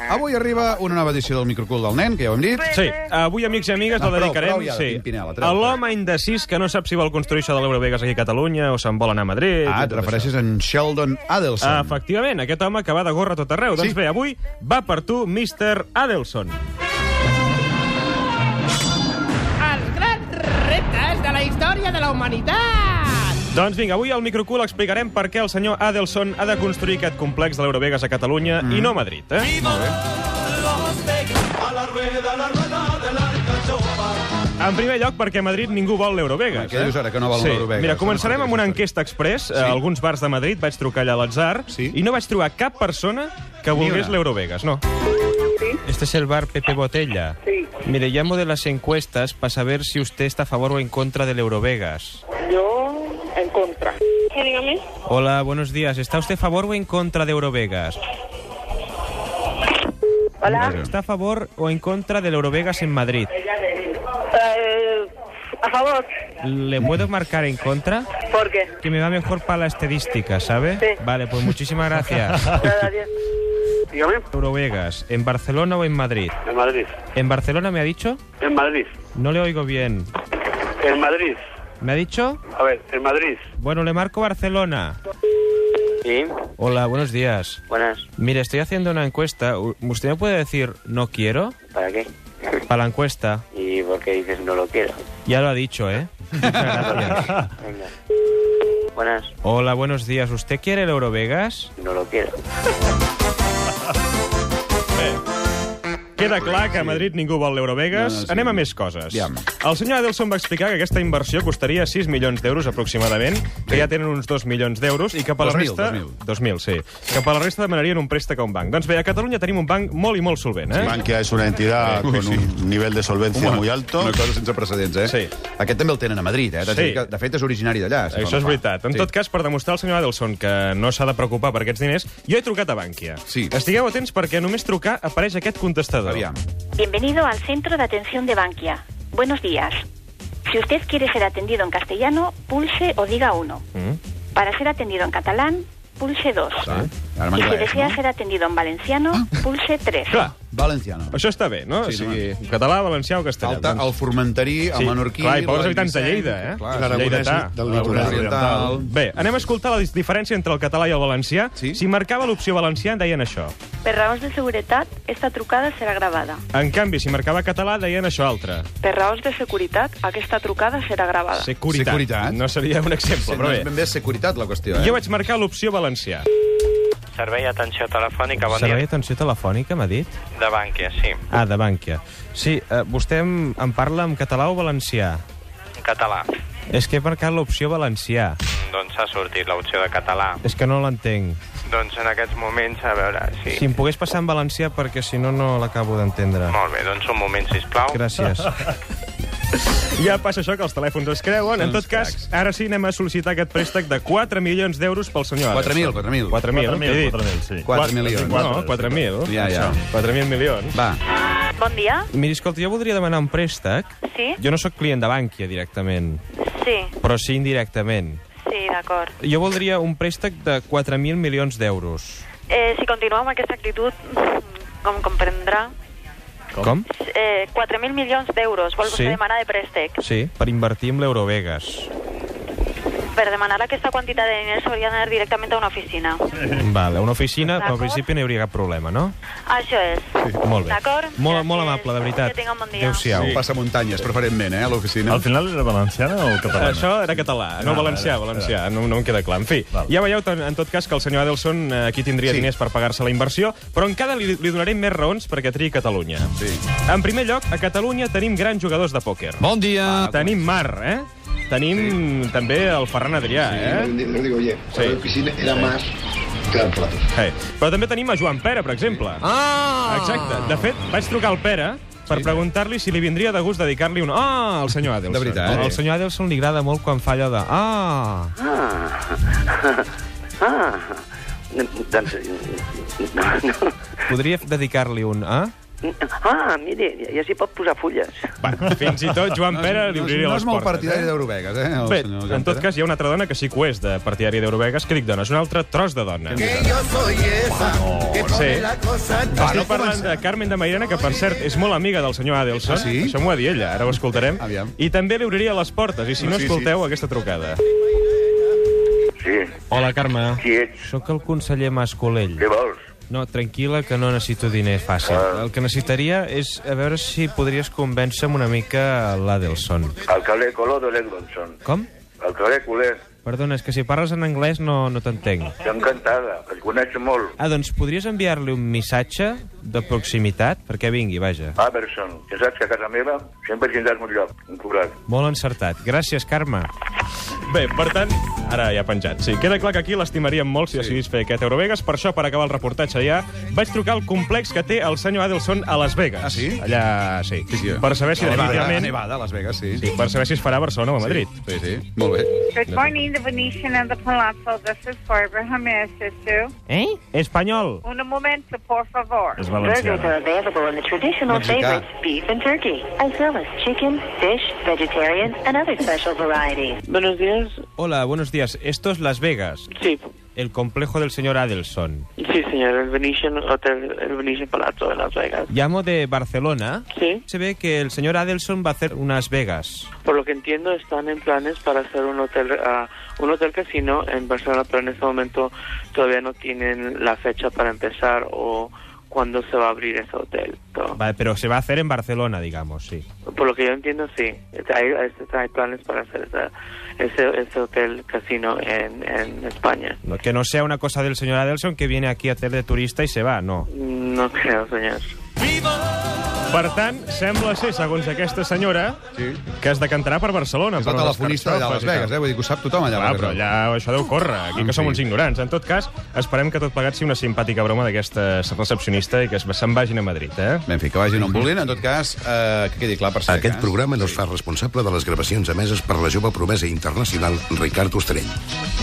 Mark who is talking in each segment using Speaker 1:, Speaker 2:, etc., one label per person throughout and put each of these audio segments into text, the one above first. Speaker 1: Avui arriba una nova edició del Microcul del Nen, que ja ho hem dit.
Speaker 2: Sí, avui, amics i amigues,
Speaker 1: Va,
Speaker 2: la
Speaker 1: Ah, prou,
Speaker 2: dedicarem
Speaker 1: prou ja de
Speaker 2: sí,
Speaker 1: Pimpinela, treu,
Speaker 2: a l'home indecís que no sap si vol construir això de l'Eurovegas aquí a Catalunya o se'n vol anar a Madrid...
Speaker 1: Ah,
Speaker 2: i
Speaker 1: et
Speaker 2: tot
Speaker 1: refereixes a en Sheldon
Speaker 2: això. Ah,
Speaker 1: Adelson.
Speaker 2: Efectivament, aquest home que va de gorra a tot arreu.
Speaker 1: Sí.
Speaker 2: Doncs bé, avui va per tu, Mr. Adelson.
Speaker 3: els grans reptes de la història de la humanitat.
Speaker 2: Doncs vinga, avui al Microcool explicarem per què el senyor Adelson ha de construir aquest complex de l'Eurovegas a Catalunya i no a Madrid, eh? En primer lloc, perquè a Madrid ningú vol l'Eurovegas. eh?
Speaker 1: Què dius ara, que no vol
Speaker 2: sí.
Speaker 1: l'Eurovegas?
Speaker 2: Mira,
Speaker 1: No
Speaker 2: començarem amb una
Speaker 1: sé què és
Speaker 2: enquesta express. Sí. A alguns bars de Madrid vaig trucar allà a l'atzar
Speaker 1: Sí.
Speaker 2: i no vaig trobar cap persona que volgués
Speaker 1: una.
Speaker 2: l'Eurovegas, no.
Speaker 4: Este es el bar Pepe Botella.
Speaker 5: Sí.
Speaker 4: Mire, llamo de las encuestas para saber si usted está a favor o en contra del Eurovegas.
Speaker 5: Yo en contra. dígame.
Speaker 4: Hola, buenos días. ¿Está usted a favor o en contra de Eurovegas?
Speaker 5: Hola.
Speaker 1: Vale.
Speaker 4: ¿Está a favor o en contra del Eurovegas en Madrid?
Speaker 5: Eh, a favor.
Speaker 4: ¿Le puedo marcar en contra?
Speaker 5: ¿Por qué?
Speaker 4: Que me va mejor para la estadística, ¿sabe?
Speaker 5: Sí.
Speaker 4: Vale, pues muchísimas gracias.
Speaker 5: Nada, bien.
Speaker 6: Dígame,
Speaker 4: Eurovegas, ¿en Barcelona o en Madrid?
Speaker 6: en Madrid.
Speaker 4: ¿En Barcelona me ha dicho?
Speaker 6: En Madrid.
Speaker 4: No le oigo bien.
Speaker 6: En Madrid.
Speaker 4: ¿Me ha dicho?
Speaker 6: A ver, en Madrid.
Speaker 4: Bueno, le marco Barcelona.
Speaker 6: Sí,
Speaker 4: Hola, buenos días.
Speaker 6: buenas.
Speaker 4: Mire, estoy haciendo una encuesta. U- ¿Usted me puede decir no quiero?
Speaker 6: ¿Para qué?
Speaker 4: Para la encuesta.
Speaker 6: ¿Y por qué dices no lo quiero?
Speaker 4: Ya lo ha dicho, ¿eh? Muchas gracias.
Speaker 6: Venga. Buenas,
Speaker 4: Hola, buenos días. ¿Usted quiere el Eurovegas?
Speaker 6: no lo quiero.
Speaker 2: Queda clar que a Madrid ningú vol l'Eurovegas.
Speaker 1: No, no, sí.
Speaker 2: Anem a més coses.
Speaker 1: Aviam.
Speaker 2: El senyor Adelson va explicar que aquesta inversió costaria 6 milions d'euros aproximadament, que ja tenen uns 2 milions d'euros, i que per la
Speaker 1: 2.000,
Speaker 2: resta...
Speaker 1: 2.000.
Speaker 2: 2.000, sí. Que per la resta demanarien un préstec a un banc. Doncs bé, a Catalunya tenim un banc molt i molt solvent, eh?
Speaker 7: Bankia es una entidad
Speaker 1: Uy,
Speaker 7: con
Speaker 1: sí.
Speaker 7: un nivel de solvencia muy alto.
Speaker 1: Una cosa sense precedents, eh?
Speaker 2: Sí.
Speaker 1: Aquest també el tenen a Madrid, eh? T'haig de
Speaker 2: Sí.
Speaker 1: dir que, De fet, és originari d'allà. si no
Speaker 2: Això és
Speaker 1: fa.
Speaker 2: veritat.
Speaker 1: Sí.
Speaker 2: En tot cas, per demostrar al senyor Adelson que no s'ha de preocupar per aquests diners, jo he trucat a Bànquia.
Speaker 1: Sí.
Speaker 2: Estigueu atents perquè només trucar apareix aquest contestador.
Speaker 1: Aviam.
Speaker 8: Bienvenido al centro de atención de Bankia. Buenos días. Si usted quiere ser atendido en castellano, pulse o diga uno. Para ser atendido en catalán, pulse dos.
Speaker 1: Ah, Ara
Speaker 8: Y si
Speaker 1: m'englès,
Speaker 8: desea
Speaker 1: no?
Speaker 8: ser atendido en valenciano, pulse tres.
Speaker 2: Clar,
Speaker 1: Valenciano.
Speaker 2: això està bé,
Speaker 1: Sí,
Speaker 2: no? o sigui, català, valencià o castellà. Doncs
Speaker 1: Falta el formentari, el menorquí...
Speaker 2: Clar, i pocs
Speaker 1: l'Aran
Speaker 2: habitants de
Speaker 1: Vicenç,
Speaker 2: Lleida, eh?
Speaker 1: Clar,
Speaker 7: I l'aragonès
Speaker 2: Lleidatà.
Speaker 7: del
Speaker 1: l'Aran
Speaker 7: litoral.
Speaker 1: oriental...
Speaker 2: Bé, anem a escoltar la dis- diferència entre el català i el valencià.
Speaker 1: Sí.
Speaker 2: Si marcava l'opció valencià, deien això.
Speaker 8: Per raons de seguretat, esta trucada serà gravada.
Speaker 2: En canvi, si marcava català, deien això altre.
Speaker 8: Per raons de seguretat, aquesta trucada serà gravada.
Speaker 2: Securitat.
Speaker 1: Securitat.
Speaker 2: No seria un exemple,
Speaker 1: Sí,
Speaker 2: però
Speaker 1: no és
Speaker 2: bé.
Speaker 1: ben bé securitat, la qüestió, eh?
Speaker 2: Jo vaig marcar l'opció valencià.
Speaker 9: Servei d'atenció telefònica, bon
Speaker 4: Servei
Speaker 9: dia,
Speaker 4: d'atenció telefònica, m'ha dit?
Speaker 9: de Bànquia, sí,
Speaker 4: Ah, de Bankia. Sí, eh, vostè em, em parla en català o valencià?
Speaker 9: en català.
Speaker 4: És que he marcat l'opció valencià.
Speaker 9: Mm, Doncs ha sortit l'opció de català.
Speaker 4: És que no l'entenc.
Speaker 9: Doncs en aquests moments, a veure, sí.
Speaker 4: Si em pogués passar en valencià, perquè si no, no l'acabo d'entendre.
Speaker 9: Molt bé, doncs un moment, sisplau.
Speaker 4: Gràcies.
Speaker 2: Ja passa això, que els telèfons es creuen. En tot cas, ara sí, anem a sol·licitar aquest préstec de 4 milions d'euros pel senyor Adelson.
Speaker 1: 4.000, 4.000.
Speaker 2: 4.000, què he dit? 4.000, sí.
Speaker 1: 4 milions.
Speaker 2: No, 4.000.
Speaker 1: Ja, ja.
Speaker 2: Això, 4.000 milions.
Speaker 1: Va,
Speaker 8: Bon dia.
Speaker 4: Miri, escolta, jo voldria demanar un préstec.
Speaker 8: Sí?
Speaker 4: Jo no sóc client de Bankia directament,
Speaker 8: Sí,
Speaker 4: però sí indirectament.
Speaker 8: sí, d'acord.
Speaker 4: Jo voldria un préstec de 4.000 milions d'euros.
Speaker 8: Eh, si continuem amb aquesta actitud, com comprendrà,
Speaker 4: Com? Com?
Speaker 8: eh, 4.000 milions d'euros vol
Speaker 4: Sí.
Speaker 8: vostè demanar de préstec.
Speaker 4: Sí, per invertir en l'Eurovegas.
Speaker 8: Per demanar aquesta quantitat de diners s'hauria d'anar directament a una oficina.
Speaker 4: Vale, una oficina, però al
Speaker 8: D'acord.
Speaker 4: principi no hi hauria cap problema, no?
Speaker 8: Això és. Sí.
Speaker 4: Molt bé.
Speaker 8: D'acord?
Speaker 4: Molt, molt
Speaker 8: Gràcies.
Speaker 4: amable, de veritat.
Speaker 8: Que tinga un bon dia.
Speaker 4: Adéu-siau.
Speaker 1: sí. passa muntanyes, preferentment, eh, a l'oficina.
Speaker 10: Al final era valenciana o catalana?
Speaker 2: Això era català, eh?
Speaker 4: Ah,
Speaker 2: no valencià, valencià, no, no em queda clar. En fi,
Speaker 10: Val.
Speaker 2: ja veieu, en en tot cas, que el senyor Adelson eh, aquí tindria
Speaker 1: Sí.
Speaker 2: diners per pagar-se la inversió, però encara li, li donarem més raons perquè triï Catalunya.
Speaker 1: Sí.
Speaker 2: En primer lloc, a Catalunya tenim grans jugadors de pòquer.
Speaker 4: Bon dia!
Speaker 2: Tenim Mar, eh? Tenim també el Ferran Adrià, eh?
Speaker 7: Yo digo, oye,
Speaker 2: Sí. la
Speaker 7: piscina era más gran
Speaker 2: eh? Però també tenim a Joan Pera, per exemple.
Speaker 4: Ah!
Speaker 2: Exacte. De fet, vaig trucar al Pere per preguntar-li si li vindria de gust dedicar-li un... Ah, al senyor Adelson.
Speaker 1: De veritat. eh?
Speaker 4: Al senyor Adelson li agrada molt quan fa allò de... Ah!
Speaker 6: Ah, doncs... No, no.
Speaker 4: Podria dedicar-li un... Ah?
Speaker 6: Ah, mira, ja, ja s'hi pot posar fulles.
Speaker 2: Bueno, fins i tot Joan Pera li
Speaker 1: no,
Speaker 2: obriria
Speaker 1: no
Speaker 2: les
Speaker 1: és molt
Speaker 2: portes.
Speaker 1: partidari d'Eurovegas, eh? el
Speaker 2: Bé,
Speaker 1: senyor Joan
Speaker 2: en tot
Speaker 1: Pere.
Speaker 2: cas, hi ha una altra dona que sí que ho és de partidària d'Eurovegas. Què dic, dona? És un altre tros de dona. Sí. Estic parlant de Carmen de Mairena, que, per cert, és molt amiga del senyor Adelson.
Speaker 1: Ah, sí?
Speaker 2: Això m'ho va dir ella, ara ho escoltarem.
Speaker 1: Aviam. Ah,
Speaker 2: I també li obriria les portes, i si no,
Speaker 1: Sí, sí.
Speaker 2: escolteu aquesta trucada.
Speaker 5: Sí,
Speaker 4: Hola, Carme.
Speaker 5: qui ets?
Speaker 4: Sóc el conseller Mascolell.
Speaker 5: Què vols? Ah.
Speaker 4: No, tranquil·la, que no necessito diners fàcil. El que necessitaria és a veure si podries convèncer una mica l'Adelson.
Speaker 5: Al caler Color de l'Egronson.
Speaker 4: Com?
Speaker 5: Al caler Culer.
Speaker 4: Perdona, és que si parles en anglès no, no t'entenc.
Speaker 5: Estic encantada, el coneixo molt.
Speaker 4: Ah, doncs podries enviar-li un missatge de proximitat perquè vingui, vaja.
Speaker 5: Aberson, que saps que a casa meva sempre tindràs un lloc, un curat.
Speaker 4: Molt encertat. Gràcies, Carme.
Speaker 2: Bé, per tant, ara ja penjat. Sí, queda clar que aquí l'estimaríem molt si sí. decidís fer aquest Eurovegas. Per això, per acabar el reportatge ja, vaig trucar al complex que té el senyor Adelson a Las Vegas.
Speaker 1: Ah, sí?
Speaker 2: Allà, sí.
Speaker 1: Sí, sí.
Speaker 2: Per saber si
Speaker 1: A Nevada, a
Speaker 2: definitivament...
Speaker 1: Nevada, a Las Vegas, sí.
Speaker 2: Sí, per saber si es farà a Barcelona o a Madrid.
Speaker 1: Sí, sí. Molt bé.
Speaker 11: Good morning, the Venetian and the Palazzo. This is Barbara. How may I assist you?
Speaker 4: Eh? Espanyol.
Speaker 11: Un momento, por favor.
Speaker 2: És valenciana.
Speaker 8: available in the traditional
Speaker 1: Mexicà.
Speaker 8: beef and turkey, as well as chicken, fish, vegetarian, and other special varieties.
Speaker 6: Buenos días.
Speaker 4: Hola, buenos días. Esto es Las Vegas,
Speaker 6: Sí,
Speaker 4: el complejo del señor Adelson.
Speaker 6: sí, señor, el Venetian Hotel, el Venetian Palazzo de Las Vegas.
Speaker 4: Llamo de Barcelona.
Speaker 6: Sí,
Speaker 4: Se ve que el señor Adelson va a hacer unas Vegas.
Speaker 6: por lo que entiendo están en planes para hacer un hotel, ah, un hotel casino en Barcelona, pero en este momento todavía no tienen la fecha para empezar o cuándo se va a abrir ese hotel. So,
Speaker 4: Vale, pero se va a hacer en Barcelona, digamos, sí.
Speaker 6: Por lo que yo entiendo, sí. Este, Hay, hay planes para hacer esa- ese, ese hotel casino en, en España.
Speaker 4: No, que no sea una cosa del señor Adelson que viene aquí a hacer de turista y se va, no.
Speaker 6: No creo, señor.
Speaker 2: Per tant, sembla ser, segons aquesta senyora,
Speaker 1: Sí.
Speaker 2: que es decantarà per Barcelona.
Speaker 1: És la
Speaker 2: per unes
Speaker 1: telefonista allà a Las
Speaker 2: carxofes i tal.
Speaker 1: Vegas, eh? Vull dir que ho sap tothom allà.
Speaker 2: Clar,
Speaker 1: perquè-
Speaker 2: però allà això deu córrer, aquí que som
Speaker 1: fi.
Speaker 2: uns ignorants. En tot cas, esperem que tot plegat sigui una simpàtica broma d'aquesta recepcionista i que se'n vagin a Madrid, eh?
Speaker 1: Ben, en fi, que vagin on vulguin. En tot cas, eh, que quedi clar per si de
Speaker 12: Aquest
Speaker 1: cas.
Speaker 12: programa no es fa responsable de les gravacions emeses per la jove promesa internacional Ricard Ostrell.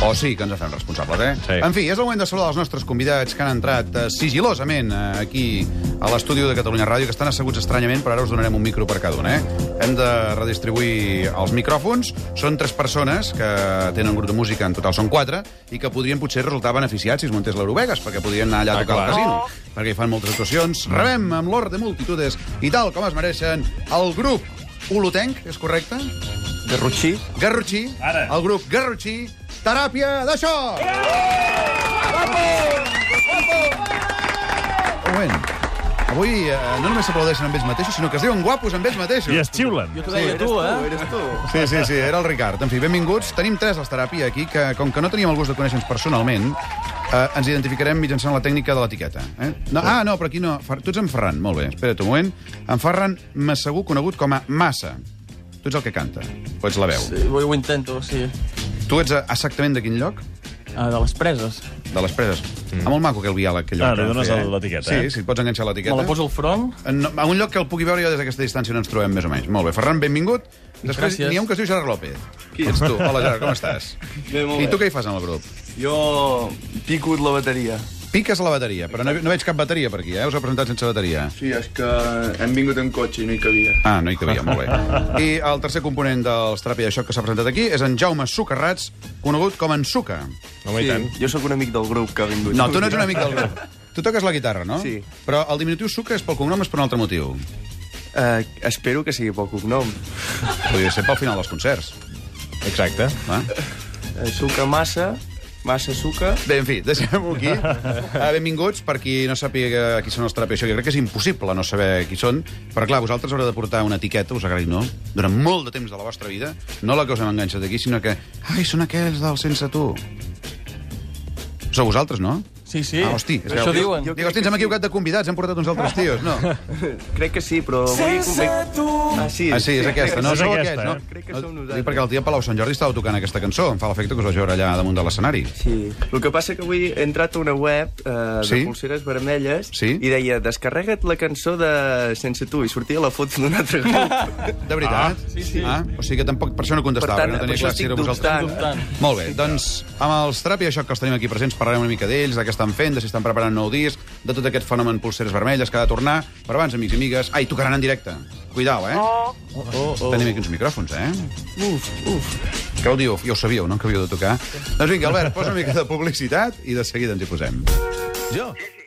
Speaker 1: O sí, que ens en fem responsables, eh?
Speaker 2: Sí.
Speaker 1: En fi, és el moment de saludar els nostres convidats que han entrat eh, sigilosament eh, aquí a l'estudi de Catalunya Ràdio, que estan asseguts estranyament, però ara us donarem un micro per cada un, eh? Hem de redistribuir els micròfons. Són tres persones que tenen un grup de música, en total són quatre, i que podrien potser resultar beneficiats si es muntés l'Eurovegas, perquè podrien anar allà a
Speaker 2: Ah,
Speaker 1: tocar
Speaker 2: clar. Mm.
Speaker 1: al casino, perquè hi fan moltes actuacions. Rebem amb l'or de multitudes i tal com es mereixen el grup Olotenc, és correcte?
Speaker 13: Garrotxí.
Speaker 1: Garrotxí,
Speaker 10: Ara.
Speaker 1: el grup Garrotxí, teràpia de xoc! Un moment. Avui eh, no només s'aplaudeixen amb ells mateixos, sinó que es diuen guapos amb ells mateixos.
Speaker 10: I es xiulen.
Speaker 13: T'ho deia tu, eh?
Speaker 12: Eres tu.
Speaker 1: Sí, sí, sí, era el Ricard. En fi, benvinguts. Tenim tres als teràpia aquí, que com que no teníem el gust de conèixer-nos personalment, eh, ens identificarem mitjançant la tècnica de l'etiqueta. Eh? No, ah, no, però aquí no. Fer- Tu ets en Ferran, molt bé. Espera't un moment. En Ferran Massagú, conegut com a Massa. Tu ets el que canta, o ets la veu.
Speaker 13: Sí, ho, ho intento, sí.
Speaker 1: Tu ets eh, exactament de quin lloc?
Speaker 13: Ah, de les preses.
Speaker 1: De les preses. Mm. Ah, molt maco, aquell diàleg. Que
Speaker 10: Ah,
Speaker 1: que
Speaker 10: li
Speaker 1: van
Speaker 10: dones
Speaker 1: fer, eh?
Speaker 10: l'etiqueta,
Speaker 1: Sí,
Speaker 10: eh?
Speaker 1: si et pots enganxar
Speaker 13: Me
Speaker 1: l'etiqueta.
Speaker 13: la poso al front.
Speaker 1: No, a un lloc que el pugui veure jo des d'aquesta distància on ens trobem, més o menys. Molt bé. Ferran, benvingut. Després
Speaker 13: Gràcies.
Speaker 1: n'hi ha un que es diu Gerard López. Qui ets tu? Hola, Gerard, com estàs?
Speaker 13: Bé, molt
Speaker 1: I tu
Speaker 13: bé.
Speaker 1: què hi fas en el grup?
Speaker 13: Jo pico la bateria.
Speaker 1: Piques a la bateria, però no, no veig cap bateria per aquí, eh? Us heu presentat sense bateria.
Speaker 14: Sí, és que hem vingut en cotxe i no hi cabia.
Speaker 1: Ah, no hi cabia, molt bé. I el tercer component dels Teràpia de Xoc que s'ha presentat aquí és en Jaume Sucarrats, conegut com en Suca.
Speaker 2: Home, i tant.
Speaker 13: jo sóc un amic del grup que ha vingut.
Speaker 1: No, tu no ets un amic del grup. Tu toques la guitarra, no?
Speaker 13: Sí.
Speaker 1: Però el diminutiu Suca és pel cognom, és per un altre motiu.
Speaker 14: Uh, espero que sigui pel cognom.
Speaker 1: Podria ser pel final dels concerts.
Speaker 2: Exacte.
Speaker 1: Va?
Speaker 13: Eh, Suca massa, massa suca.
Speaker 1: Bé, en fi, deixem-ho aquí. Uh, benvinguts, per qui no sàpiga qui són els teràpia això, jo crec que és impossible no saber qui són, però clar, vosaltres haureu de portar una etiqueta, us agradi o no, durant molt de temps de la vostra vida, no la que us hem enganxat aquí, sinó que, ai, són aquells del sense tu. Sou vosaltres, no?
Speaker 13: Sí, sí.
Speaker 1: Ah, hosti. és que-
Speaker 13: Això diuen.
Speaker 1: Dic, hosti, ens hem equivocat de convidats, hem portat uns altres tios, no?
Speaker 14: Crec que sí, però... Sense tu... Ah, sí,
Speaker 1: Ah, sí, és aquesta, no?
Speaker 2: És
Speaker 1: Sou
Speaker 2: aquesta,
Speaker 1: aquests, no?
Speaker 2: eh?
Speaker 14: Crec que som nosaltres.
Speaker 1: Dic perquè el dia Palau Sant Jordi estava tocant aquesta cançó, em fa l'efecte que us vaig veure allà damunt de l'escenari.
Speaker 14: Sí. El que passa que avui he entrat a una web eh, de
Speaker 1: Sí?
Speaker 14: pulseres vermelles
Speaker 1: Sí?
Speaker 14: i deia descarrega't la cançó de Sense tu i sortia la foto d'un altre grup.
Speaker 1: De veritat? Ah, sí, sí. Ah, o sigui que tampoc per això no contestava,
Speaker 14: Per tant,
Speaker 1: perquè no
Speaker 14: per
Speaker 1: tenia
Speaker 14: això
Speaker 1: clar si
Speaker 14: estic
Speaker 1: era vosaltres.
Speaker 14: dubtant.
Speaker 1: Molt bé, doncs amb els Trap i això que els tenim aquí presents parlarem una mica d'ells, d'aquesta estan fent, de si estan preparant nou disc, de tot aquest fenomen Pulseres Vermelles que ha de tornar. Però abans, amics i amigues... Ai, tocaran en directe. Cuidao, eh? Oh. Oh, oh. Tenim aquí uns micròfons, eh?
Speaker 14: Uf, uf.
Speaker 1: Que ho diu? Ja ho sabíeu, no?, que havíeu de tocar. Doncs vinga, Albert, posa una mica de publicitat i de seguida ens hi posem.
Speaker 15: Jo? Sí, sí.